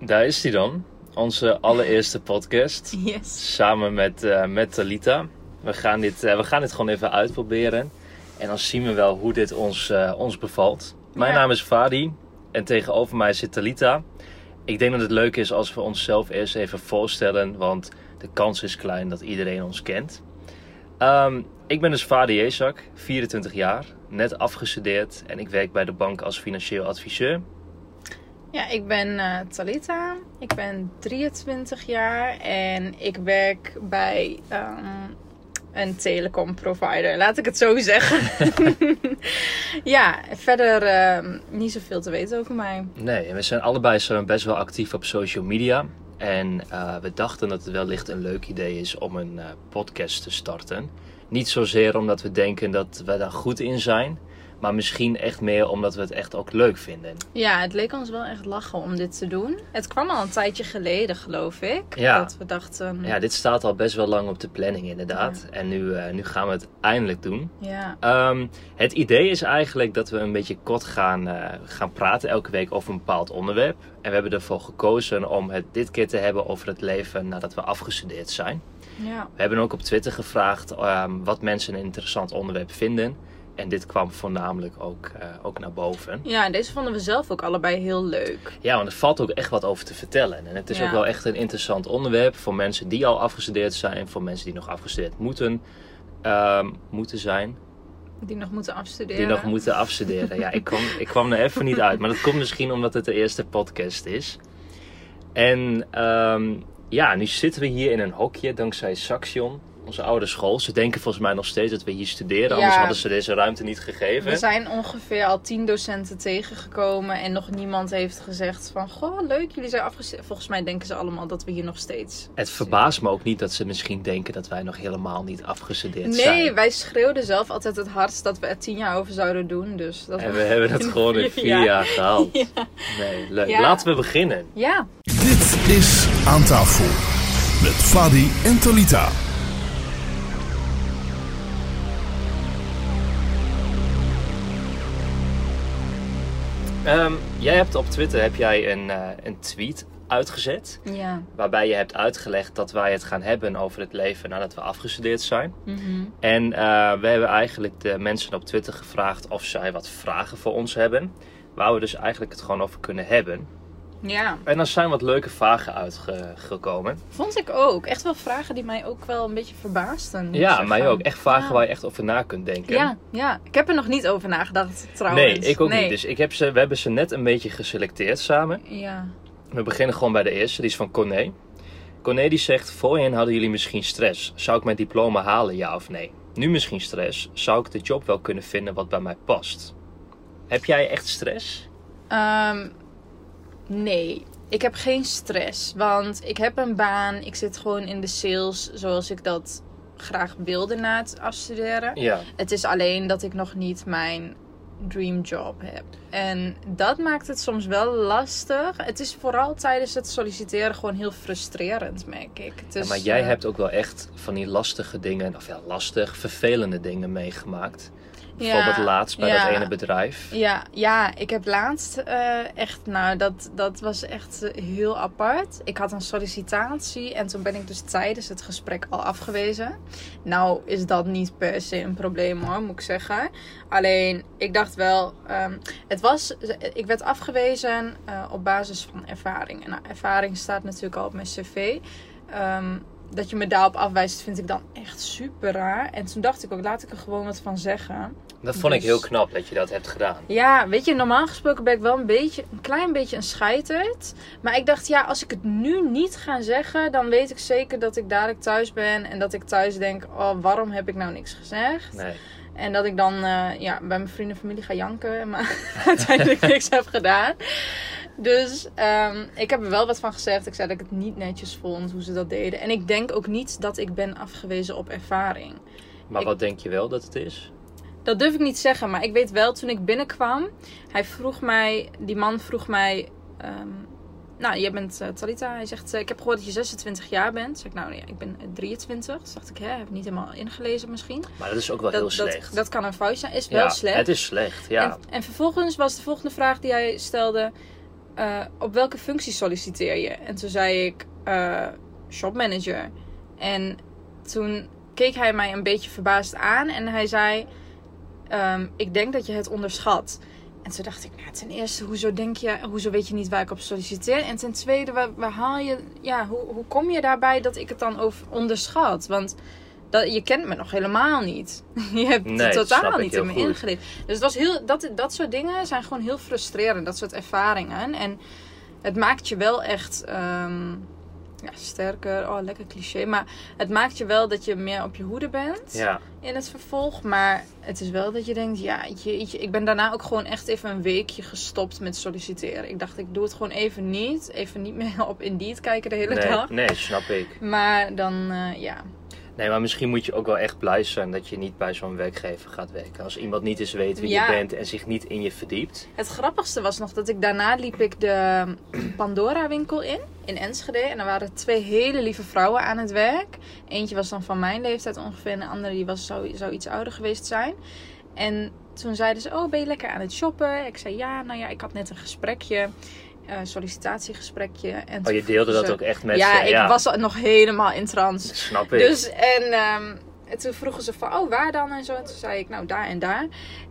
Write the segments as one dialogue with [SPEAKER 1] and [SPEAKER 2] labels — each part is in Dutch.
[SPEAKER 1] Daar is hij dan. Onze allereerste podcast.
[SPEAKER 2] Yes.
[SPEAKER 1] Samen met, eh met Talita. We gaan, dit, eh, we gaan dit gewoon even uitproberen. En dan zien we wel hoe dit ons, eh, ons bevalt. Mijn
[SPEAKER 2] Ja.
[SPEAKER 1] naam is Fadi. En tegenover mij zit Talita. Ik denk dat het leuk is als we onszelf eerst even voorstellen. Want de kans is klein dat iedereen ons kent. Ehm, ik ben dus Fadi Jezak, 24 jaar. Net afgestudeerd. En ik werk bij de bank als financieel adviseur.
[SPEAKER 2] Ja, ik ben eh, Talita. Ik ben 23 jaar en ik werk bij ehm, een telecom provider. Laat ik het zo zeggen. ja, verder ehm, niet zoveel te weten over mij.
[SPEAKER 1] Nee, en we zijn allebei zo best wel actief op social media. En eh, we dachten dat het wellicht een leuk idee is om een eh, podcast te starten. Niet zozeer omdat we denken dat we daar goed in zijn, maar misschien echt meer omdat we het echt ook leuk vinden.
[SPEAKER 2] Ja, het leek ons wel echt lachen om dit te doen. Het kwam al een tijdje geleden, geloof ik.
[SPEAKER 1] Ja.
[SPEAKER 2] Dat we dachten.
[SPEAKER 1] Ja, dit staat al best wel lang op de planning inderdaad. En nu, eh, nu gaan we het eindelijk doen.
[SPEAKER 2] ja.
[SPEAKER 1] Ehm, het idee is eigenlijk dat we een beetje kort gaan, eh, gaan praten elke week over een bepaald onderwerp. En we hebben ervoor gekozen om het dit keer te hebben over het leven nadat we afgestudeerd zijn.
[SPEAKER 2] ja.
[SPEAKER 1] We hebben ook op Twitter gevraagd ehm, wat mensen een interessant onderwerp vinden. En dit kwam voornamelijk ook, eh, ook naar boven.
[SPEAKER 2] Ja, en deze vonden we zelf ook allebei heel leuk.
[SPEAKER 1] Ja, want er valt ook echt wat over te vertellen. En het is
[SPEAKER 2] Ja.
[SPEAKER 1] ook wel echt een interessant onderwerp voor mensen die al afgestudeerd zijn, voor mensen die nog afgestudeerd moeten, ehm, moeten zijn,
[SPEAKER 2] Die nog moeten afstuderen.
[SPEAKER 1] die nog moeten afstuderen. ja, ik kwam, ik kwam er even niet uit, maar dat komt misschien omdat het de eerste podcast is. En ehm, ja, nu zitten we hier in een hokje dankzij Saxion, onze oude school. Ze denken volgens mij nog steeds dat we hier studeren,
[SPEAKER 2] Ja.
[SPEAKER 1] anders hadden ze deze ruimte niet gegeven.
[SPEAKER 2] We zijn ongeveer al tien docenten tegengekomen en nog niemand heeft gezegd van... Goh, leuk, jullie zijn afgestudeerd. Volgens mij denken ze allemaal dat we hier nog steeds...
[SPEAKER 1] Het verbaast me ook niet dat ze misschien denken dat wij nog helemaal niet afgestudeerd zijn.
[SPEAKER 2] Nee, wij schreeuwden zelf altijd het hardst dat we er tien jaar over zouden doen. Dus dat
[SPEAKER 1] En we hebben dat gewoon in vier jaar gehaald. Nee, leuk.
[SPEAKER 2] Ja.
[SPEAKER 1] Laten we beginnen.
[SPEAKER 2] Ja,
[SPEAKER 3] Dit is Aan tafel met Fadi en Talita.
[SPEAKER 1] Ehm, jij hebt op Twitter heb jij een, eh, een tweet uitgezet.
[SPEAKER 2] ja.
[SPEAKER 1] Waarbij je hebt uitgelegd dat wij het gaan hebben over het leven nadat we afgestudeerd zijn.
[SPEAKER 2] Mhm.
[SPEAKER 1] En eh, we hebben eigenlijk de mensen op Twitter gevraagd of zij wat vragen voor ons hebben. Waar we dus eigenlijk het gewoon over kunnen hebben.
[SPEAKER 2] Ja,
[SPEAKER 1] En dan zijn wat leuke vragen uitgekomen.
[SPEAKER 2] vond ik ook. Echt wel vragen die mij ook wel een beetje verbaasden. moet ik
[SPEAKER 1] Ja,
[SPEAKER 2] zeggen.
[SPEAKER 1] mij ook. Echt vragen
[SPEAKER 2] Ja.
[SPEAKER 1] waar je echt over na kunt denken.
[SPEAKER 2] Ja, ja, ik heb er nog niet over nagedacht trouwens.
[SPEAKER 1] Nee, ik ook
[SPEAKER 2] Nee.
[SPEAKER 1] niet. Dus ik heb ze, we hebben ze net een beetje geselecteerd samen.
[SPEAKER 2] Ja.
[SPEAKER 1] We beginnen gewoon bij de eerste, die is van Coné. Coné die zegt, voorheen hadden jullie misschien stress. Zou ik mijn diploma halen, ja of nee? Nu misschien stress. Zou ik de job wel kunnen vinden wat bij mij past? Heb jij echt stress?
[SPEAKER 2] Ehm, nee, ik heb geen stress. Want ik heb een baan. Ik zit gewoon in de sales zoals ik dat graag wilde na het afstuderen.
[SPEAKER 1] Ja.
[SPEAKER 2] Het is alleen dat ik nog niet mijn dreamjob heb. En dat maakt het soms wel lastig. Het is vooral tijdens het solliciteren gewoon heel frustrerend, merk ik. Dus,
[SPEAKER 1] maar jij
[SPEAKER 2] eh,
[SPEAKER 1] hebt ook wel echt van die lastige dingen, of ja, lastig, vervelende dingen meegemaakt. Bijvoorbeeld laatst bij
[SPEAKER 2] ja.
[SPEAKER 1] dat ene bedrijf.
[SPEAKER 2] Ja, ja, ik heb laatst eh, echt, nou, dat, dat was echt eh, heel apart. Ik had een sollicitatie en toen ben ik dus tijdens het gesprek al afgewezen. Nou, is dat niet per se een probleem hoor, moet ik zeggen. Alleen, ik dacht wel, ehm, het was, ik werd afgewezen eh, op basis van ervaring. En nou, ervaring staat natuurlijk al op mijn cv. Ehm, dat je me daarop afwijst, vind ik dan echt super raar. En toen dacht ik ook, laat ik er gewoon wat van zeggen.
[SPEAKER 1] Dat vond ik
[SPEAKER 2] dus-
[SPEAKER 1] heel knap dat je dat hebt gedaan.
[SPEAKER 2] Ja, weet je, normaal gesproken ben ik wel een beetje, een klein beetje een scheiterd. Maar ik dacht, ja, als ik het nu niet ga zeggen, dan weet ik zeker dat ik dadelijk thuis ben. En dat ik thuis denk, oh, waarom heb ik nou niks gezegd?
[SPEAKER 1] Nee.
[SPEAKER 2] En dat ik dan eh, ja, bij mijn vrienden en familie ga janken, maar uiteindelijk niks heb gedaan. Dus ehm, ik heb er wel wat van gezegd. Ik zei dat ik het niet netjes vond hoe ze dat deden. En ik denk ook niet dat ik ben afgewezen op ervaring.
[SPEAKER 1] Maar
[SPEAKER 2] Ik-
[SPEAKER 1] wat denk je wel dat het is?
[SPEAKER 2] Dat durf ik niet zeggen, maar ik weet wel toen ik binnenkwam. Hij vroeg mij, die man vroeg mij. ehm, nou, jij bent eh, Talita. Hij zegt: eh, Ik heb gehoord dat je 26 jaar bent. Zeg ik: Nou ja, ik ben eh, 23. Toen dacht ik: Hè, heb ik niet helemaal ingelezen misschien.
[SPEAKER 1] Maar dat is ook wel heel
[SPEAKER 2] Dat, dat,
[SPEAKER 1] slecht.
[SPEAKER 2] dat kan een fout zijn. Is
[SPEAKER 1] ja,
[SPEAKER 2] wel slecht.
[SPEAKER 1] Het is slecht, ja.
[SPEAKER 2] En, en vervolgens was de volgende vraag die hij stelde: eh, op welke functie solliciteer je? En toen zei ik, eh shopmanager. En toen keek hij mij een beetje verbaasd aan en hij zei, ehm, ik denk dat je het onderschat. En toen dacht ik, nou, ten eerste, hoezo, denk je, hoezo weet je niet waar ik op solliciteer? En ten tweede, waar, waar haal je, ja, hoe, hoe kom je daarbij dat ik het dan over onderschat? Want dat, je kent me nog helemaal niet. Je hebt
[SPEAKER 1] Nee, dat snap
[SPEAKER 2] totaal
[SPEAKER 1] ik
[SPEAKER 2] niet
[SPEAKER 1] heel
[SPEAKER 2] in me
[SPEAKER 1] goed.
[SPEAKER 2] ingeleefd. Dus het was heel, dat, dat soort dingen zijn gewoon heel frustrerend, dat soort ervaringen. En het maakt je wel echt ehm, ja, sterker. Oh, lekker cliché. Maar het maakt je wel dat je meer op je hoede bent
[SPEAKER 1] Ja,
[SPEAKER 2] in het vervolg. Maar het is wel dat je denkt, ja, jeetje, ik ben daarna ook gewoon echt even een weekje gestopt met solliciteren. Ik dacht, ik doe het gewoon even niet. Even niet meer op Indeed kijken de hele
[SPEAKER 1] nee,
[SPEAKER 2] dag.
[SPEAKER 1] nee, snap ik.
[SPEAKER 2] Maar dan, eh, ja.
[SPEAKER 1] Nee, maar misschien moet je ook wel echt blij zijn dat je niet bij zo'n werkgever gaat werken. Als iemand niet eens weet wie
[SPEAKER 2] Ja.
[SPEAKER 1] je bent en zich niet in je verdiept.
[SPEAKER 2] Het grappigste was nog dat ik daarna liep ik de Pandora winkel in, in Enschede. En er waren twee hele lieve vrouwen aan het werk. Eentje was dan van mijn leeftijd ongeveer en de andere die was, zou, zou iets ouder geweest zijn. En toen zeiden ze, oh ben je lekker aan het shoppen? Ik zei, ja, nou ja, ik had net een gesprekje, een sollicitatiegesprekje. En
[SPEAKER 1] Oh,
[SPEAKER 2] toen
[SPEAKER 1] je deelde dat
[SPEAKER 2] vroegen
[SPEAKER 1] ook
[SPEAKER 2] ze-
[SPEAKER 1] echt met
[SPEAKER 2] ja,
[SPEAKER 1] ze.
[SPEAKER 2] ik was al- nog helemaal in trance.
[SPEAKER 1] Snap ik.
[SPEAKER 2] Dus en, ehm, en toen vroegen ze van, oh waar dan en zo. En toen zei ik, nou daar en daar.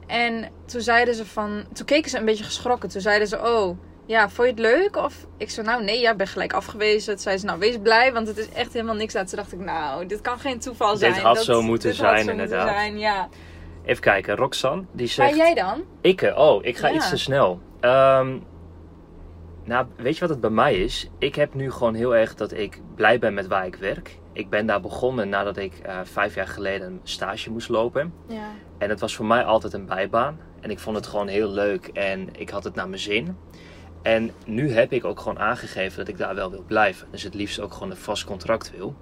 [SPEAKER 2] En toen zeiden ze van, toen keken ze een beetje geschrokken. Toen zeiden ze, oh ja, vond je het leuk? Of ik zei, nou nee, ja, ik ben gelijk afgewezen. Toen zei ze, nou wees blij, want het is echt helemaal niks uit. Toen dacht ik, nou, dit kan geen toeval
[SPEAKER 1] Dit
[SPEAKER 2] zijn.
[SPEAKER 1] had zo moeten
[SPEAKER 2] dit had
[SPEAKER 1] zijn,
[SPEAKER 2] zo moeten
[SPEAKER 1] inderdaad.
[SPEAKER 2] zijn, ja.
[SPEAKER 1] Even kijken, Roxanne, die
[SPEAKER 2] Maar
[SPEAKER 1] zegt...
[SPEAKER 2] jij dan?
[SPEAKER 1] Ik, oh, ik ga
[SPEAKER 2] Ja.
[SPEAKER 1] iets te snel. Ehm, nou, weet je wat het bij mij is? Ik heb nu gewoon heel erg dat ik blij ben met waar ik werk. Ik ben daar begonnen nadat ik eh, vijf jaar geleden een stage moest lopen.
[SPEAKER 2] Ja.
[SPEAKER 1] En het was voor mij altijd een bijbaan. En ik vond het gewoon heel leuk en ik had het naar mijn zin. En nu heb ik ook gewoon aangegeven dat ik daar wel wil blijven. Dus het liefst ook gewoon een vast contract wil.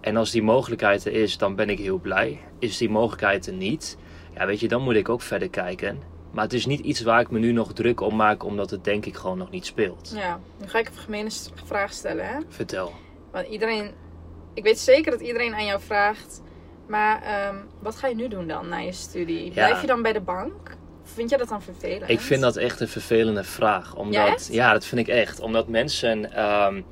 [SPEAKER 1] En als die mogelijkheid er is, dan ben ik heel blij. Is die mogelijkheid er niet, ja weet je, dan moet ik ook verder kijken. Maar het is niet iets waar ik me nu nog druk om maak, omdat het denk ik gewoon nog niet speelt.
[SPEAKER 2] Ja, nu ga ik een gemene s- vraag stellen, hè.
[SPEAKER 1] Vertel.
[SPEAKER 2] Want iedereen, ik weet zeker dat iedereen aan jou vraagt. Maar ehm, wat ga je nu doen dan na je studie? Blijf je dan bij de bank? Vind jij dat dan vervelend?
[SPEAKER 1] Ik vind dat echt een vervelende vraag. Omdat,
[SPEAKER 2] echt?
[SPEAKER 1] Ja, dat vind ik echt. Omdat mensen ehm,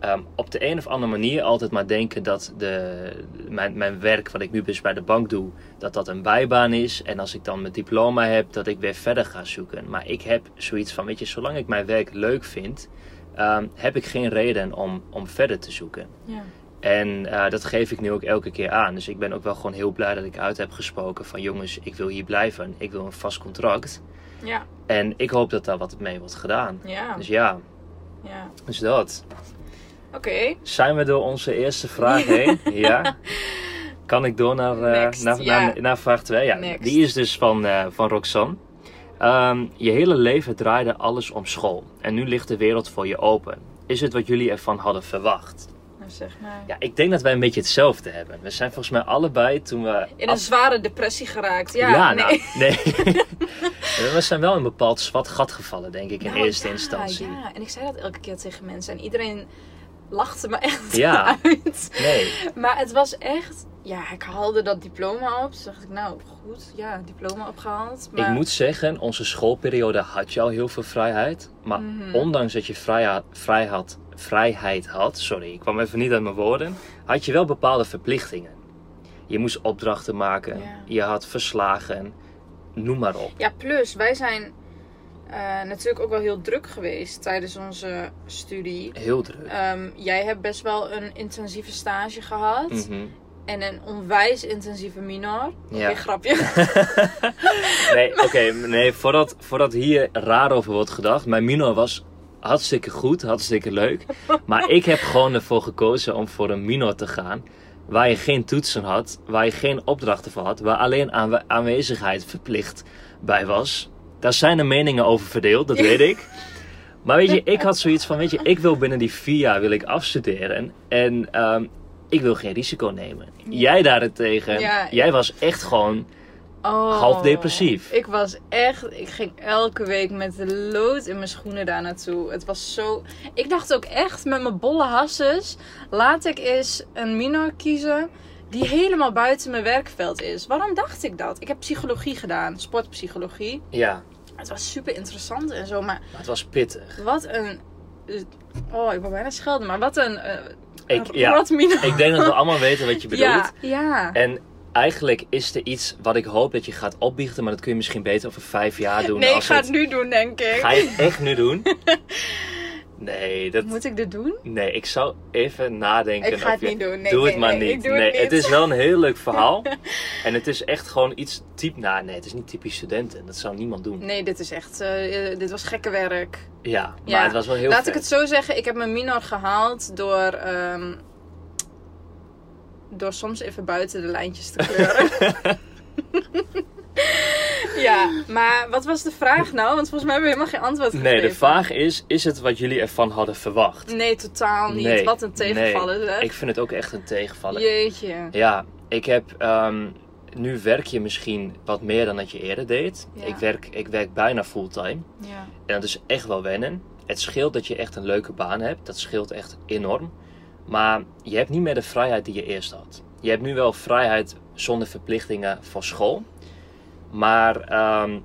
[SPEAKER 1] ehm, op de een of andere manier altijd maar denken dat de, mijn, mijn werk, wat ik nu dus bij de bank doe, dat dat een bijbaan is. En als ik dan mijn diploma heb, dat ik weer verder ga zoeken. Maar ik heb zoiets van, weet je, zolang ik mijn werk leuk vind, ehm, heb ik geen reden om, om verder te zoeken.
[SPEAKER 2] Ja.
[SPEAKER 1] En eh, dat geef ik nu ook elke keer aan. Dus ik ben ook wel gewoon heel blij dat ik uit heb gesproken van jongens, ik wil hier blijven. Ik wil een vast contract.
[SPEAKER 2] Ja,
[SPEAKER 1] En ik hoop dat daar wat mee wordt gedaan.
[SPEAKER 2] ja,
[SPEAKER 1] Dus ja,
[SPEAKER 2] ja.
[SPEAKER 1] dus dat.
[SPEAKER 2] Oké,
[SPEAKER 1] Zijn we door onze eerste vraag heen? ja. Kan ik door naar, eh,
[SPEAKER 2] Next,
[SPEAKER 1] naar,
[SPEAKER 2] ja.
[SPEAKER 1] naar, naar vraag 2? Ja,
[SPEAKER 2] Next.
[SPEAKER 1] die is dus van, eh, van Roxanne. Ehm, je hele leven draaide alles om school. En nu ligt de wereld voor je open. Is het wat jullie ervan hadden verwacht?
[SPEAKER 2] nou zeg maar.
[SPEAKER 1] Ja, ik denk dat wij een beetje hetzelfde hebben. We zijn volgens mij allebei toen we...
[SPEAKER 2] In een
[SPEAKER 1] af-
[SPEAKER 2] zware depressie geraakt. Ja, nee.
[SPEAKER 1] nou, nee. we zijn wel in een bepaald zwart gat gevallen, denk ik, in
[SPEAKER 2] Nou,
[SPEAKER 1] eerste
[SPEAKER 2] ja,
[SPEAKER 1] instantie.
[SPEAKER 2] Ja, en ik zei dat elke keer tegen mensen. En iedereen lachte me echt
[SPEAKER 1] Ja.
[SPEAKER 2] uit.
[SPEAKER 1] Nee.
[SPEAKER 2] Maar het was echt... Ja, ik haalde dat diploma op. Toen dacht ik, nou goed, ja, diploma opgehaald. Maar...
[SPEAKER 1] Ik moet zeggen, onze schoolperiode had je al heel veel vrijheid. Maar
[SPEAKER 2] Mhm.
[SPEAKER 1] ondanks dat je vrijha- vrij had, vrijheid had, sorry, ik kwam even niet uit mijn woorden, had je wel bepaalde verplichtingen. Je moest opdrachten maken,
[SPEAKER 2] Ja.
[SPEAKER 1] je had verslagen, noem maar op.
[SPEAKER 2] Ja, plus wij zijn eh, natuurlijk ook wel heel druk geweest tijdens onze studie.
[SPEAKER 1] Heel druk.
[SPEAKER 2] Ehm, jij hebt best wel een intensieve stage gehad.
[SPEAKER 1] Mhm.
[SPEAKER 2] En een onwijs intensieve minor.
[SPEAKER 1] Ja.
[SPEAKER 2] Geen grapje.
[SPEAKER 1] Nee, oké, nee, voordat, voordat hier raar over wordt gedacht. Mijn minor was hartstikke goed, hartstikke leuk. Maar ik heb gewoon ervoor gekozen om voor een minor te gaan. Waar je geen toetsen had, waar je geen opdrachten voor had, waar alleen aanwe- aanwezigheid verplicht bij was. Daar zijn de meningen over verdeeld, dat weet ik. Maar weet je, ik had zoiets van, weet je, ik wil binnen die vier jaar wil ik afstuderen. En ehm, ik wil geen risico nemen. Jij daarentegen,
[SPEAKER 2] Ja.
[SPEAKER 1] jij was echt gewoon
[SPEAKER 2] Oh,
[SPEAKER 1] Half depressief.
[SPEAKER 2] Ik was echt... Ik ging elke week met de lood in mijn schoenen daar naartoe. Het was zo... Ik dacht ook echt met mijn bolle hasses... Laat ik eens een minor kiezen... Die helemaal buiten mijn werkveld is. Waarom dacht ik dat? Ik heb psychologie gedaan, sportpsychologie.
[SPEAKER 1] Ja,
[SPEAKER 2] Eh, Het was super interessant en zo, maar
[SPEAKER 1] Maar het was pittig.
[SPEAKER 2] wat een. Oh, ik wil bijna schelden, maar wat een. eh
[SPEAKER 1] Ik,
[SPEAKER 2] een
[SPEAKER 1] ja,
[SPEAKER 2] rotmina.
[SPEAKER 1] ik denk dat we allemaal weten wat je bedoelt.
[SPEAKER 2] Ja, ja.
[SPEAKER 1] En eigenlijk is er iets wat ik hoop dat je gaat opbiechten, maar dat kun je misschien beter over vijf jaar doen.
[SPEAKER 2] Nee, ik
[SPEAKER 1] als
[SPEAKER 2] ga
[SPEAKER 1] het-
[SPEAKER 2] het nu doen, denk ik.
[SPEAKER 1] Ga je het echt nu doen? Nee, dat...
[SPEAKER 2] Moet ik dit doen?
[SPEAKER 1] Nee, ik zou even nadenken.
[SPEAKER 2] Ik ga
[SPEAKER 1] of
[SPEAKER 2] het
[SPEAKER 1] je-
[SPEAKER 2] niet doen. Nee,
[SPEAKER 1] doe
[SPEAKER 2] nee,
[SPEAKER 1] het maar
[SPEAKER 2] nee,
[SPEAKER 1] niet.
[SPEAKER 2] ik doe het
[SPEAKER 1] nee,
[SPEAKER 2] niet.
[SPEAKER 1] is wel een heel leuk verhaal. en het is echt gewoon iets typ. Nou, nee, het is niet typisch studenten. Dat zou niemand doen.
[SPEAKER 2] Nee, dit is echt. eh, eh, dit was gekke werk.
[SPEAKER 1] Ja, maar
[SPEAKER 2] Ja.
[SPEAKER 1] het was wel heel
[SPEAKER 2] Laat
[SPEAKER 1] vet.
[SPEAKER 2] ik het zo zeggen, ik heb mijn minor gehaald door. ehm, door soms even buiten de lijntjes te kleuren. ja, maar wat was de vraag nou? Want volgens mij hebben we helemaal geen antwoord gegeven.
[SPEAKER 1] Nee, de vraag is: is het wat jullie ervan hadden verwacht?
[SPEAKER 2] Nee, totaal Mm, niet.
[SPEAKER 1] Nee,
[SPEAKER 2] Wat een tegenvaller
[SPEAKER 1] nee.
[SPEAKER 2] zeg.
[SPEAKER 1] Ik vind het ook echt een tegenvaller.
[SPEAKER 2] Jeetje.
[SPEAKER 1] Ja, ik heb. ehm, nu werk je misschien wat meer dan dat je eerder deed.
[SPEAKER 2] Ja.
[SPEAKER 1] Ik, werk, ik werk bijna fulltime.
[SPEAKER 2] Ja.
[SPEAKER 1] En dat is echt wel wennen. Het scheelt dat je echt een leuke baan hebt. Dat scheelt echt enorm. Maar je hebt niet meer de vrijheid die je eerst had. Je hebt nu wel vrijheid zonder verplichtingen van school. Maar ehm,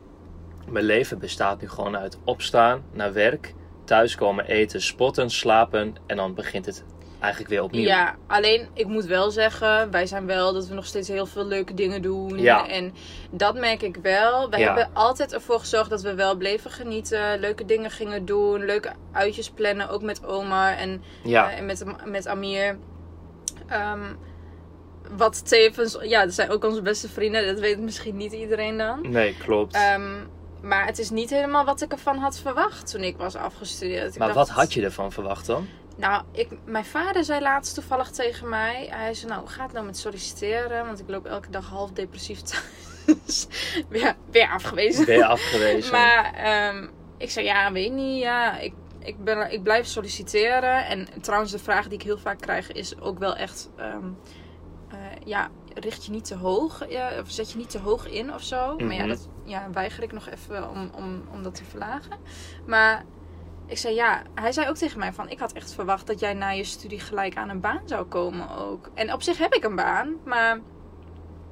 [SPEAKER 1] mijn leven bestaat nu gewoon uit opstaan, naar werk, thuiskomen, eten, spotten, slapen. En dan begint het eigenlijk weer opnieuw.
[SPEAKER 2] Ja, alleen ik moet wel zeggen, wij zijn wel dat we nog steeds heel veel leuke dingen doen.
[SPEAKER 1] Ja.
[SPEAKER 2] En dat merk ik wel. Wij
[SPEAKER 1] Ja.
[SPEAKER 2] hebben altijd ervoor gezorgd dat we wel bleven genieten, leuke dingen gingen doen, leuke uitjes plannen, ook met oma en,
[SPEAKER 1] Ja.
[SPEAKER 2] eh, en met, met Amir. Ehm, wat tevens, ja, dat zijn ook onze beste vrienden, dat weet misschien niet iedereen dan.
[SPEAKER 1] Nee, klopt.
[SPEAKER 2] Ehm, maar het is niet helemaal wat ik ervan had verwacht toen ik was afgestudeerd. Ik
[SPEAKER 1] maar
[SPEAKER 2] dacht-
[SPEAKER 1] wat had je ervan verwacht dan?
[SPEAKER 2] nou, ik, mijn vader zei laatst toevallig tegen mij. Hij zei, nou, hoe gaat het nou met solliciteren? Want ik loop elke dag half depressief thuis. weer, weer afgewezen.
[SPEAKER 1] Ben je afgewezen?
[SPEAKER 2] Maar ehm, ik zei, ja, weet niet. Ja, ik, ik, ben, ik blijf solliciteren. En trouwens, de vraag die ik heel vaak krijg is ook wel echt... ehm, eh, ja, richt je niet te hoog? eh, of zet je niet te hoog in of zo? Maar ja,
[SPEAKER 1] Mhm.
[SPEAKER 2] dat ja, weiger ik nog even om, om, om dat te verlagen. Maar ik zei, ja, hij zei ook tegen mij van... Ik had echt verwacht dat jij na je studie gelijk aan een baan zou komen ook. En op zich heb ik een baan, maar...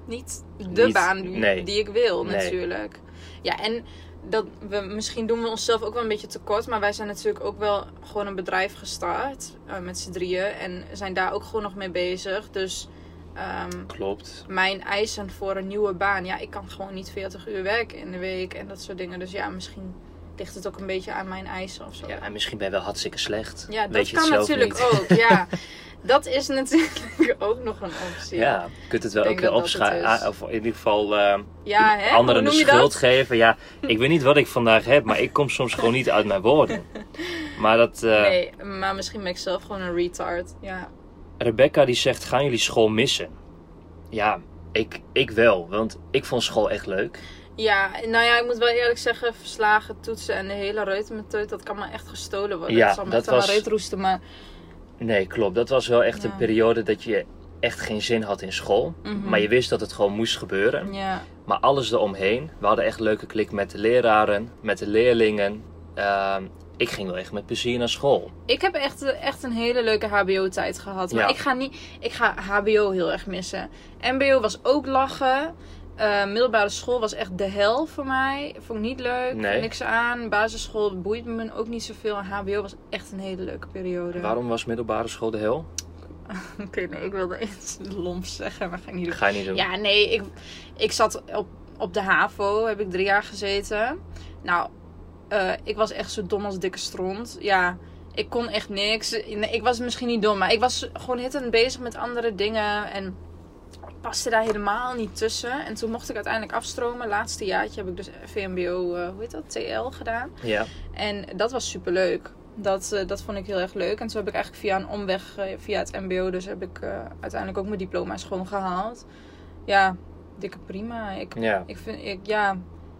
[SPEAKER 2] Niet de
[SPEAKER 1] Niet-
[SPEAKER 2] baan die-
[SPEAKER 1] nee.
[SPEAKER 2] die ik wil,
[SPEAKER 1] Nee.
[SPEAKER 2] natuurlijk. Ja, en dat we, misschien doen we onszelf ook wel een beetje tekort. Maar wij zijn natuurlijk ook wel gewoon een bedrijf gestart. eh, met z'n drieën. En zijn daar ook gewoon nog mee bezig. Dus ehm,
[SPEAKER 1] Klopt.
[SPEAKER 2] mijn eisen voor een nieuwe baan. Ja, ik kan gewoon niet 40 uur werken in de week. En dat soort dingen. Dus ja, misschien ligt het ook een beetje aan mijn eisen of zo.
[SPEAKER 1] Ja, en misschien ben je wel hartstikke slecht.
[SPEAKER 2] Ja,
[SPEAKER 1] Weet
[SPEAKER 2] dat
[SPEAKER 1] je het
[SPEAKER 2] kan
[SPEAKER 1] zelf
[SPEAKER 2] natuurlijk
[SPEAKER 1] niet.
[SPEAKER 2] ook. Ja, dat is natuurlijk ook nog een optie.
[SPEAKER 1] Ja, je kunt het wel
[SPEAKER 2] Ik
[SPEAKER 1] ook
[SPEAKER 2] denk
[SPEAKER 1] weer
[SPEAKER 2] dat dat het
[SPEAKER 1] opschrijven. Ah,
[SPEAKER 2] is.
[SPEAKER 1] Of in ieder geval eh,
[SPEAKER 2] ja hè?
[SPEAKER 1] anderen
[SPEAKER 2] Hoe
[SPEAKER 1] de
[SPEAKER 2] noem je
[SPEAKER 1] schuld
[SPEAKER 2] dat?
[SPEAKER 1] geven. Ja, ik weet niet wat ik vandaag heb, maar ik kom soms gewoon niet uit mijn woorden. Maar dat, eh,
[SPEAKER 2] Nee, maar misschien ben ik zelf gewoon een retard. Ja.
[SPEAKER 1] Rebecca die zegt, gaan jullie school missen? Ja, ik, ik wel, want ik vond school echt leuk.
[SPEAKER 2] Ja, nou ja, ik moet wel eerlijk zeggen, verslagen, toetsen en de hele reutemeteut, dat kan me echt gestolen worden.
[SPEAKER 1] Ja,
[SPEAKER 2] dat zal me
[SPEAKER 1] dat
[SPEAKER 2] echt aan mijn
[SPEAKER 1] was-
[SPEAKER 2] reet roesten, maar...
[SPEAKER 1] Nee, klopt. Dat was wel echt
[SPEAKER 2] Ja.
[SPEAKER 1] een periode dat je echt geen zin had in school.
[SPEAKER 2] Mhm.
[SPEAKER 1] Maar je wist dat het gewoon moest gebeuren.
[SPEAKER 2] Ja,
[SPEAKER 1] Maar alles eromheen. We hadden echt leuke klik met de leraren, met de leerlingen. Ehm, ik ging wel echt met plezier naar school.
[SPEAKER 2] ik heb echt, echt een hele leuke hbo-tijd gehad. Maar
[SPEAKER 1] Ja.
[SPEAKER 2] ik ga niet... Ik ga hbo heel erg missen. Mbo was ook lachen. Eh, middelbare school was echt de hel voor mij. Vond ik niet leuk.
[SPEAKER 1] Nee.
[SPEAKER 2] Niks aan. Basisschool boeit me ook niet zoveel. En hbo was echt een hele leuke periode.
[SPEAKER 1] Waarom was middelbare school de hel?
[SPEAKER 2] Oké, nee, ik wilde iets lomps zeggen, maar ga ik niet doen.
[SPEAKER 1] Ga je niet doen.
[SPEAKER 2] Ja, nee, ik, ik zat op, op de HAVO, heb ik drie jaar gezeten. Nou, eh, ik was echt zo dom als dikke stront. Ja, ik kon echt niks. Nee, ik was misschien niet dom, maar ik was gewoon hittend bezig met andere dingen. En ik paste daar helemaal niet tussen. En toen mocht ik uiteindelijk afstromen. Laatste jaartje heb ik dus VMBO, eh, hoe heet dat, TL gedaan.
[SPEAKER 1] Ja.
[SPEAKER 2] En dat was super leuk. Dat, eh, dat vond ik heel erg leuk. En toen heb ik eigenlijk via een omweg, eh, via het MBO, dus heb ik eh, uiteindelijk ook mijn diploma's gewoon gehaald. Ja, dikke prima. Ik,
[SPEAKER 1] Ja,
[SPEAKER 2] ik vind, ik, ja,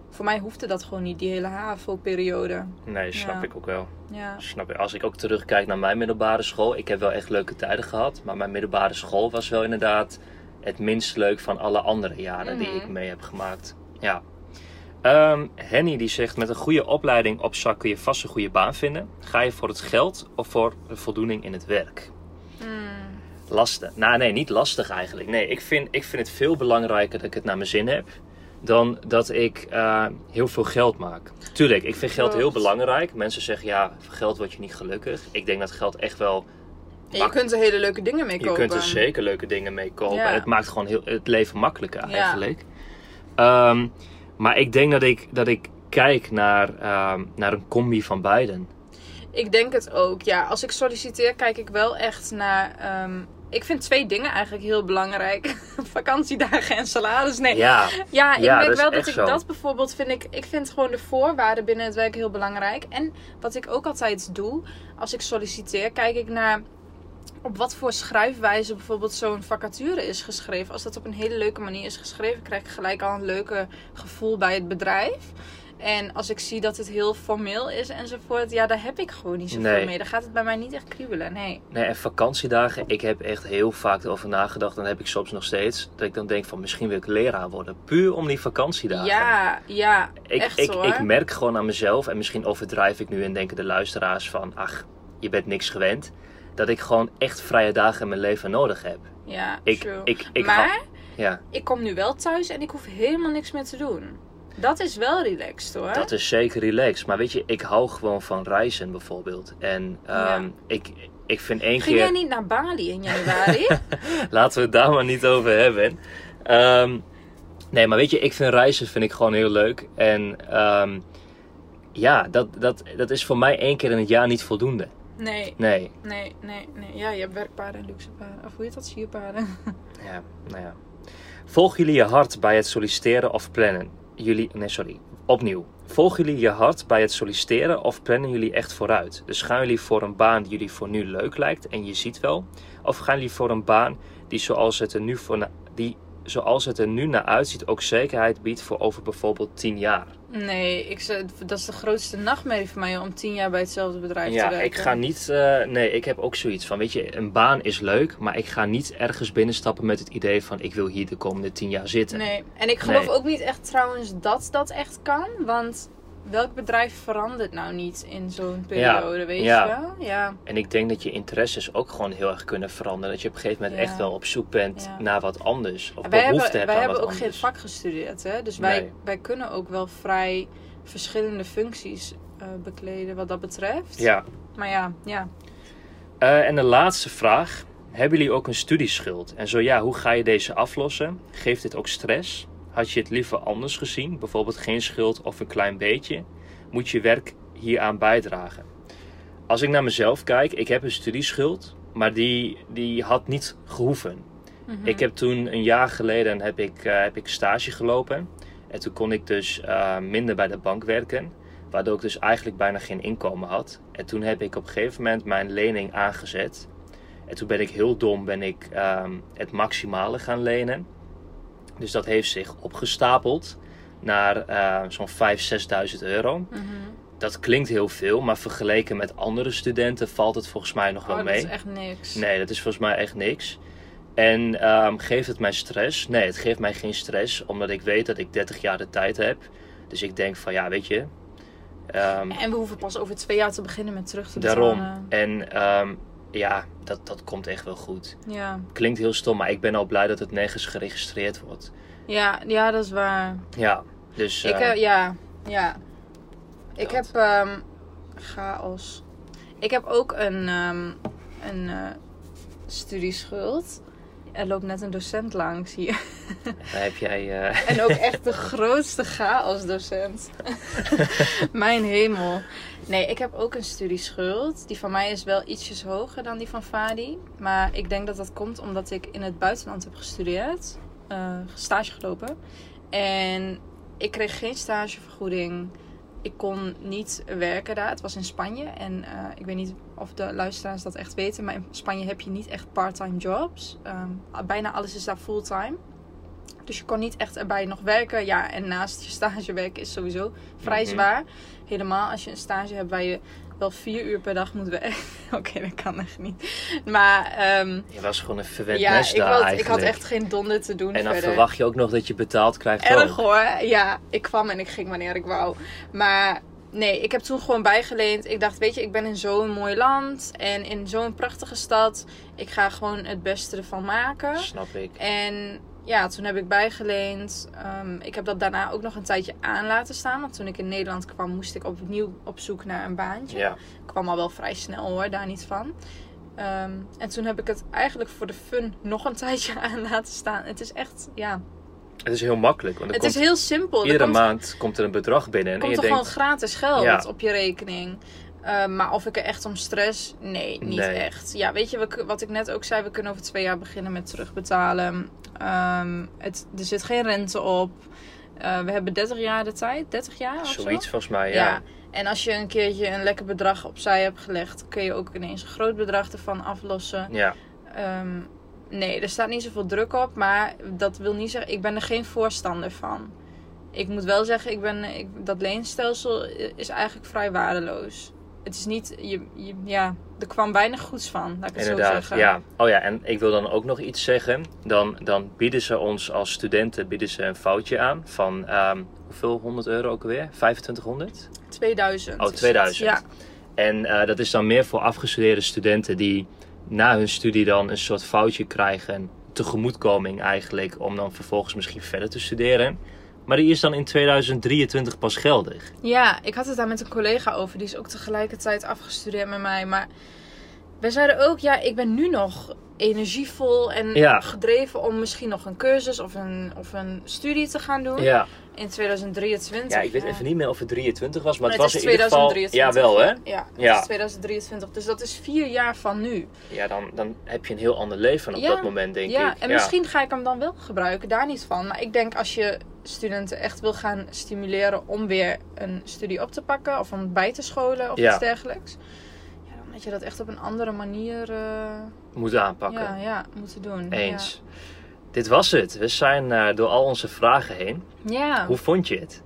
[SPEAKER 2] voor mij hoefde dat gewoon niet, die hele HAVO-periode.
[SPEAKER 1] nee, snap
[SPEAKER 2] Ja.
[SPEAKER 1] ik ook wel.
[SPEAKER 2] Ja.
[SPEAKER 1] Snap ik. Als ik ook terugkijk naar mijn middelbare school, ik heb wel echt leuke tijden gehad, maar mijn middelbare school was wel inderdaad het minst leuk van alle andere jaren die
[SPEAKER 2] Mhm.
[SPEAKER 1] ik mee heb gemaakt. Ja. Ehm, Henny die zegt, met een goede opleiding op zak kun je vast een goede baan vinden. Ga je voor het geld of voor de voldoening in het werk?
[SPEAKER 2] Mm,
[SPEAKER 1] Lastig. Nou nee, niet lastig eigenlijk. Nee, ik vind, ik vind het veel belangrijker dat ik het naar mijn zin heb. dan dat ik eh, heel veel geld maak. Tuurlijk, ik vind geld heel
[SPEAKER 2] Klopt.
[SPEAKER 1] belangrijk. Mensen zeggen ja, voor geld word je niet gelukkig. Ik denk dat geld echt wel.
[SPEAKER 2] En je kunt er hele leuke dingen mee
[SPEAKER 1] Je
[SPEAKER 2] kopen.
[SPEAKER 1] kunt er zeker leuke dingen mee kopen.
[SPEAKER 2] Ja.
[SPEAKER 1] En het maakt gewoon heel, het leven makkelijker
[SPEAKER 2] Ja.
[SPEAKER 1] eigenlijk. Ehm, maar ik denk dat ik, dat ik kijk naar, ehm, naar een combi van beiden.
[SPEAKER 2] Ik denk het ook, ja. Als ik solliciteer, kijk ik wel echt naar... ehm, ik vind twee dingen eigenlijk heel belangrijk. Vakantiedagen en salaris. Nee,
[SPEAKER 1] Ja,
[SPEAKER 2] Ja, ik
[SPEAKER 1] Ja, dat
[SPEAKER 2] merk
[SPEAKER 1] is
[SPEAKER 2] wel dat
[SPEAKER 1] echt
[SPEAKER 2] ik
[SPEAKER 1] zo.
[SPEAKER 2] dat bijvoorbeeld vind. Ik, ik vind gewoon de voorwaarden binnen het werk heel belangrijk. En wat ik ook altijd doe, als ik solliciteer, kijk ik naar op wat voor schrijfwijze bijvoorbeeld zo'n vacature is geschreven. Als dat op een hele leuke manier is geschreven, krijg ik gelijk al een leuke gevoel bij het bedrijf. En als ik zie dat het heel formeel is enzovoort, ja, daar heb ik gewoon niet zoveel
[SPEAKER 1] Nee.
[SPEAKER 2] mee. Dan gaat het bij mij niet echt kriebelen, nee.
[SPEAKER 1] Nee, en vakantiedagen, ik heb echt heel vaak erover nagedacht. En dat heb ik soms nog steeds. Dat ik dan denk van misschien wil ik leraar worden. Puur om die vakantiedagen.
[SPEAKER 2] Ja, ja,
[SPEAKER 1] ik,
[SPEAKER 2] echt
[SPEAKER 1] ik,
[SPEAKER 2] hoor.
[SPEAKER 1] ik merk gewoon aan mezelf. En misschien overdrijf ik nu en denken de luisteraars van... Ach, je bent niks gewend. Dat ik gewoon echt vrije dagen in mijn leven nodig heb.
[SPEAKER 2] ja,
[SPEAKER 1] Ik,
[SPEAKER 2] true.
[SPEAKER 1] ik, ik,
[SPEAKER 2] maar...
[SPEAKER 1] ha- ja,
[SPEAKER 2] ik kom nu wel thuis en ik hoef helemaal niks meer te doen. Dat is wel relaxed hoor.
[SPEAKER 1] dat is zeker relaxed. Maar weet je, ik hou gewoon van reizen bijvoorbeeld. En ehm, ik, ik vind één
[SPEAKER 2] Ging
[SPEAKER 1] keer...
[SPEAKER 2] jij niet naar Bali in januari?
[SPEAKER 1] Laten we het daar maar niet over hebben. Ehm, nee, maar weet je, ik vind reizen vind ik gewoon heel leuk. En ehm, ja, dat, dat, dat is voor mij één keer in het jaar niet voldoende.
[SPEAKER 2] nee,
[SPEAKER 1] Nee.
[SPEAKER 2] nee, nee, nee. Ja, je hebt werkpaarden en luxe paarden. Of hoe heet dat? Sierpaarden.
[SPEAKER 1] Ja, nou ja. Volg jullie je hart bij het solliciteren of plannen? Jullie, nee, sorry. Opnieuw. Volgen jullie je hart bij het solliciteren of plannen jullie echt vooruit? Dus gaan jullie voor een baan die jullie voor nu leuk lijkt en je ziet wel? Of gaan jullie voor een baan die zoals het er nu, voor na- die, zoals het er nu naar uitziet ook zekerheid biedt voor over bijvoorbeeld 10 jaar?
[SPEAKER 2] Nee, ik, zou- dat is de grootste nachtmerrie voor mij om tien jaar bij hetzelfde bedrijf te
[SPEAKER 1] Ja,
[SPEAKER 2] werken.
[SPEAKER 1] ik ga niet. eh, nee, ik heb ook zoiets van: weet je, een baan is leuk, maar ik ga niet ergens binnenstappen met het idee van ik wil hier de komende 10 jaar zitten.
[SPEAKER 2] Nee, en ik geloof
[SPEAKER 1] Nee.
[SPEAKER 2] ook niet echt trouwens dat dat echt kan. Want welk bedrijf verandert nou niet in zo'n periode, weet
[SPEAKER 1] ja.
[SPEAKER 2] je wel? Ja.
[SPEAKER 1] En ik denk dat je interesses ook gewoon heel erg kunnen veranderen. Dat je op een gegeven moment
[SPEAKER 2] Ja.
[SPEAKER 1] echt wel op zoek bent
[SPEAKER 2] Ja.
[SPEAKER 1] naar wat anders. Of
[SPEAKER 2] wij
[SPEAKER 1] behoefte
[SPEAKER 2] hebben,
[SPEAKER 1] hebt
[SPEAKER 2] wij
[SPEAKER 1] aan
[SPEAKER 2] hebben
[SPEAKER 1] wat
[SPEAKER 2] ook geen
[SPEAKER 1] anders.
[SPEAKER 2] vak gestudeerd, hè? dus wij,
[SPEAKER 1] Nee.
[SPEAKER 2] wij kunnen ook wel vrij verschillende functies eh, bekleden wat dat betreft.
[SPEAKER 1] Ja.
[SPEAKER 2] Maar ja, ja.
[SPEAKER 1] Eh, en de laatste vraag. Hebben jullie ook een studieschuld? En zo ja, hoe ga je deze aflossen? Geeft dit ook stress? Had je het liever anders gezien? Bijvoorbeeld geen schuld of een klein beetje? Moet je werk hieraan bijdragen? Als ik naar mezelf kijk, ik heb een studieschuld, maar die, die had niet gehoeven.
[SPEAKER 2] Mhm.
[SPEAKER 1] Ik heb toen een jaar geleden heb ik, eh, heb ik stage gelopen. En toen kon ik dus eh, minder bij de bank werken. Waardoor ik dus eigenlijk bijna geen inkomen had. En toen heb ik op een gegeven moment mijn lening aangezet. En toen ben ik heel dom ben ik, ehm, het maximale gaan lenen. Dus dat heeft zich opgestapeld naar eh, zo'n 5.000, 6.000 euro.
[SPEAKER 2] Mhm.
[SPEAKER 1] Dat klinkt heel veel, maar vergeleken met andere studenten valt het volgens mij nog
[SPEAKER 2] Oh,
[SPEAKER 1] wel
[SPEAKER 2] dat
[SPEAKER 1] mee.
[SPEAKER 2] is echt niks.
[SPEAKER 1] Nee, dat is volgens mij echt niks. En ehm, geeft het mij stress? Nee, het geeft mij geen stress, omdat ik weet dat ik 30 jaar de tijd heb. Dus ik denk van ja, weet je. ehm,
[SPEAKER 2] En we hoeven pas over twee jaar te beginnen met terug te betalen.
[SPEAKER 1] daarom. En ehm, ja, dat, dat komt echt wel goed.
[SPEAKER 2] Ja.
[SPEAKER 1] Klinkt heel stom, maar ik ben al blij dat het nergens geregistreerd wordt.
[SPEAKER 2] Ja, ja, dat is waar.
[SPEAKER 1] Ja, dus.
[SPEAKER 2] Ik,
[SPEAKER 1] eh,
[SPEAKER 2] eh, ja, ja. Ik heb
[SPEAKER 1] Dat.
[SPEAKER 2] ehm, chaos. Ik heb ook een, ehm, een eh, studieschuld. Er loopt net een docent langs hier.
[SPEAKER 1] daar heb jij. eh,
[SPEAKER 2] En ook echt de grootste chaosdocent. Mijn hemel. Nee, ik heb ook een studieschuld. Die van mij is wel ietsjes hoger dan die van Fadi. Maar ik denk dat dat komt omdat ik in het buitenland heb gestudeerd. eh, stage gelopen. En ik kreeg geen stagevergoeding. Ik kon niet werken daar. Het was in Spanje. En eh, ik weet niet of de luisteraars dat echt weten. Maar in Spanje heb je niet echt part-time jobs. Ehm, bijna alles is daar fulltime. Dus je kon niet echt erbij nog werken. Ja, en naast je stage werken is sowieso vrij
[SPEAKER 1] Mhm.
[SPEAKER 2] zwaar. Helemaal als je een stage hebt waar je wel vier uur per dag moet werken. Oké, dat kan echt niet. Maar ehm,
[SPEAKER 1] je was gewoon een verwend
[SPEAKER 2] ja,
[SPEAKER 1] nest
[SPEAKER 2] ik,
[SPEAKER 1] daar
[SPEAKER 2] had,
[SPEAKER 1] eigenlijk.
[SPEAKER 2] ik had echt geen donder te doen
[SPEAKER 1] en dan
[SPEAKER 2] verder.
[SPEAKER 1] verwacht je ook nog dat je betaald krijgt.
[SPEAKER 2] Erg
[SPEAKER 1] ook.
[SPEAKER 2] hoor. Ja, ik kwam en ik ging wanneer ik wou. Maar nee, ik heb toen gewoon bijgeleend. Ik dacht, weet je, ik ben in zo'n mooi land en in zo'n prachtige stad. Ik ga gewoon het beste ervan maken.
[SPEAKER 1] Snap ik.
[SPEAKER 2] En ja, toen heb ik bijgeleend. Ehm, ik heb dat daarna ook nog een tijdje aan laten staan. Want toen ik in Nederland kwam, moest ik opnieuw op zoek naar een baantje.
[SPEAKER 1] Ja.
[SPEAKER 2] Ik kwam al wel vrij snel hoor, daar niet van. Ehm, en toen heb ik het eigenlijk voor de fun nog een tijdje aan laten staan. Het is echt, ja.
[SPEAKER 1] Het is heel makkelijk. Want er
[SPEAKER 2] Het
[SPEAKER 1] komt,
[SPEAKER 2] is heel simpel. Er
[SPEAKER 1] iedere
[SPEAKER 2] komt-
[SPEAKER 1] maand komt er een bedrag binnen. En
[SPEAKER 2] komt
[SPEAKER 1] je
[SPEAKER 2] er
[SPEAKER 1] denkt,
[SPEAKER 2] gewoon gratis geld
[SPEAKER 1] Ja.
[SPEAKER 2] op je rekening. Uh, maar of ik er echt om stress? Nee, niet
[SPEAKER 1] Nee.
[SPEAKER 2] echt. Ja, weet je, we kun- wat ik net ook zei, we kunnen over twee jaar beginnen met terugbetalen. Ehm, het, er zit geen rente op. Eh, we hebben 30 jaar de tijd, 30 jaar of Oh, zo.
[SPEAKER 1] zoiets volgens mij,
[SPEAKER 2] Ja.
[SPEAKER 1] ja.
[SPEAKER 2] En als je een keertje een lekker bedrag opzij hebt gelegd, kun je ook ineens een groot bedrag ervan aflossen.
[SPEAKER 1] Ja,
[SPEAKER 2] Ehm, nee, er staat niet zoveel druk op, maar dat wil niet zeggen, ik ben er geen voorstander van. Ik moet wel zeggen, ik ben, ik, dat leenstelsel i- is eigenlijk vrij waardeloos. Het is niet, je, je- ja, er kwam weinig goeds van, laat ik het zo
[SPEAKER 1] inderdaad.
[SPEAKER 2] zeggen.
[SPEAKER 1] Ja. Oh ja, en ik wil dan ook nog iets zeggen. Dan, dan bieden ze ons als studenten bieden ze een foutje aan van ehm, hoeveel 100 euro ook alweer? 2500?
[SPEAKER 2] 2000.
[SPEAKER 1] Oh,
[SPEAKER 2] is het.
[SPEAKER 1] 2000.
[SPEAKER 2] Ja,
[SPEAKER 1] En eh, dat is dan meer voor afgestudeerde studenten die na hun studie dan een soort foutje krijgen. Tegemoetkoming eigenlijk, om dan vervolgens misschien verder te studeren. Maar die is dan in 2023 pas geldig.
[SPEAKER 2] ja, ik had het daar met een collega over, die is ook tegelijkertijd afgestudeerd met mij. Maar wij zeiden ook, ja, ik ben nu nog energievol en
[SPEAKER 1] Ja.
[SPEAKER 2] gedreven om misschien nog een cursus of een, of een studie te gaan doen.
[SPEAKER 1] Ja,
[SPEAKER 2] In 2023.
[SPEAKER 1] ja ik weet even niet meer of het 23 was, maar
[SPEAKER 2] Maar
[SPEAKER 1] het was
[SPEAKER 2] is
[SPEAKER 1] in ieder geval...
[SPEAKER 2] 2023.
[SPEAKER 1] Ja, wel hè?
[SPEAKER 2] Ja, het
[SPEAKER 1] Ja.
[SPEAKER 2] is 2023. Dus dat is vier jaar van nu.
[SPEAKER 1] Ja, dan, dan heb je een heel ander leven op
[SPEAKER 2] Ja,
[SPEAKER 1] dat moment, denk
[SPEAKER 2] ja,
[SPEAKER 1] ik.
[SPEAKER 2] en misschien ga ik hem dan wel gebruiken. Daar niet van. Maar ik denk als je studenten echt wil gaan stimuleren om weer een studie op te pakken. Of om bij te scholen of
[SPEAKER 1] Ja.
[SPEAKER 2] iets dergelijks. Ja, dan moet je dat echt op een andere manier eh,
[SPEAKER 1] Moet aanpakken.
[SPEAKER 2] ja, ja, moeten doen.
[SPEAKER 1] Eens. Dit was het. We zijn eh, door al onze vragen heen.
[SPEAKER 2] Ja. Ja.
[SPEAKER 1] Hoe vond je het?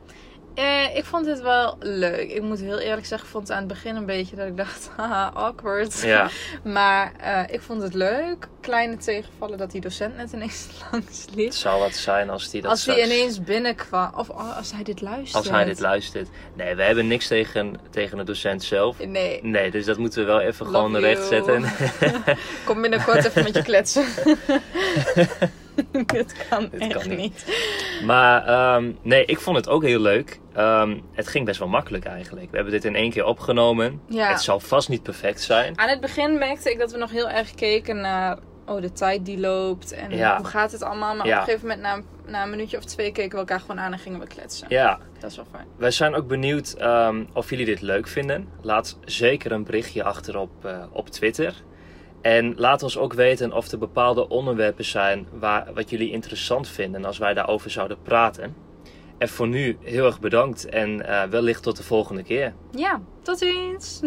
[SPEAKER 2] Eh, ik vond het wel leuk. Ik moet heel eerlijk zeggen, ik vond het aan het begin een beetje dat ik dacht, haha, awkward.
[SPEAKER 1] Ja,
[SPEAKER 2] Maar eh, ik vond het leuk. Kleine tegenvallen dat die docent net ineens langs liep.
[SPEAKER 1] het zal wat zijn als die dat
[SPEAKER 2] als hij
[SPEAKER 1] straks-
[SPEAKER 2] ineens binnenkwam. Of oh, als hij dit luistert.
[SPEAKER 1] Als hij dit luistert. Nee, wij hebben niks tegen, tegen de docent zelf.
[SPEAKER 2] Nee.
[SPEAKER 1] Nee, dus dat moeten we wel even
[SPEAKER 2] Love
[SPEAKER 1] gewoon
[SPEAKER 2] you.
[SPEAKER 1] recht zetten.
[SPEAKER 2] Kom binnenkort even met je kletsen. dit kan
[SPEAKER 1] Dit
[SPEAKER 2] echt
[SPEAKER 1] kan niet.
[SPEAKER 2] niet.
[SPEAKER 1] maar ehm, nee, ik vond het ook heel leuk. Ehm, het ging best wel makkelijk eigenlijk. We hebben dit in één keer opgenomen.
[SPEAKER 2] Ja.
[SPEAKER 1] Het zal vast niet perfect zijn.
[SPEAKER 2] Aan het begin merkte ik dat we nog heel erg keken naar oh, de tijd die loopt. En
[SPEAKER 1] Ja.
[SPEAKER 2] hoe gaat het allemaal. Maar
[SPEAKER 1] Ja.
[SPEAKER 2] op een gegeven moment, na, een- na een minuutje of twee, keken we elkaar gewoon aan en gingen we kletsen.
[SPEAKER 1] Ja,
[SPEAKER 2] Dat is wel fijn.
[SPEAKER 1] Wij zijn ook benieuwd ehm, of jullie dit leuk vinden. Laat zeker een berichtje achter op, eh, op Twitter. En laat ons ook weten of er bepaalde onderwerpen zijn waar, wat jullie interessant vinden als wij daarover zouden praten. En voor nu heel erg bedankt en eh, wellicht tot de volgende keer.
[SPEAKER 2] Ja, tot ziens.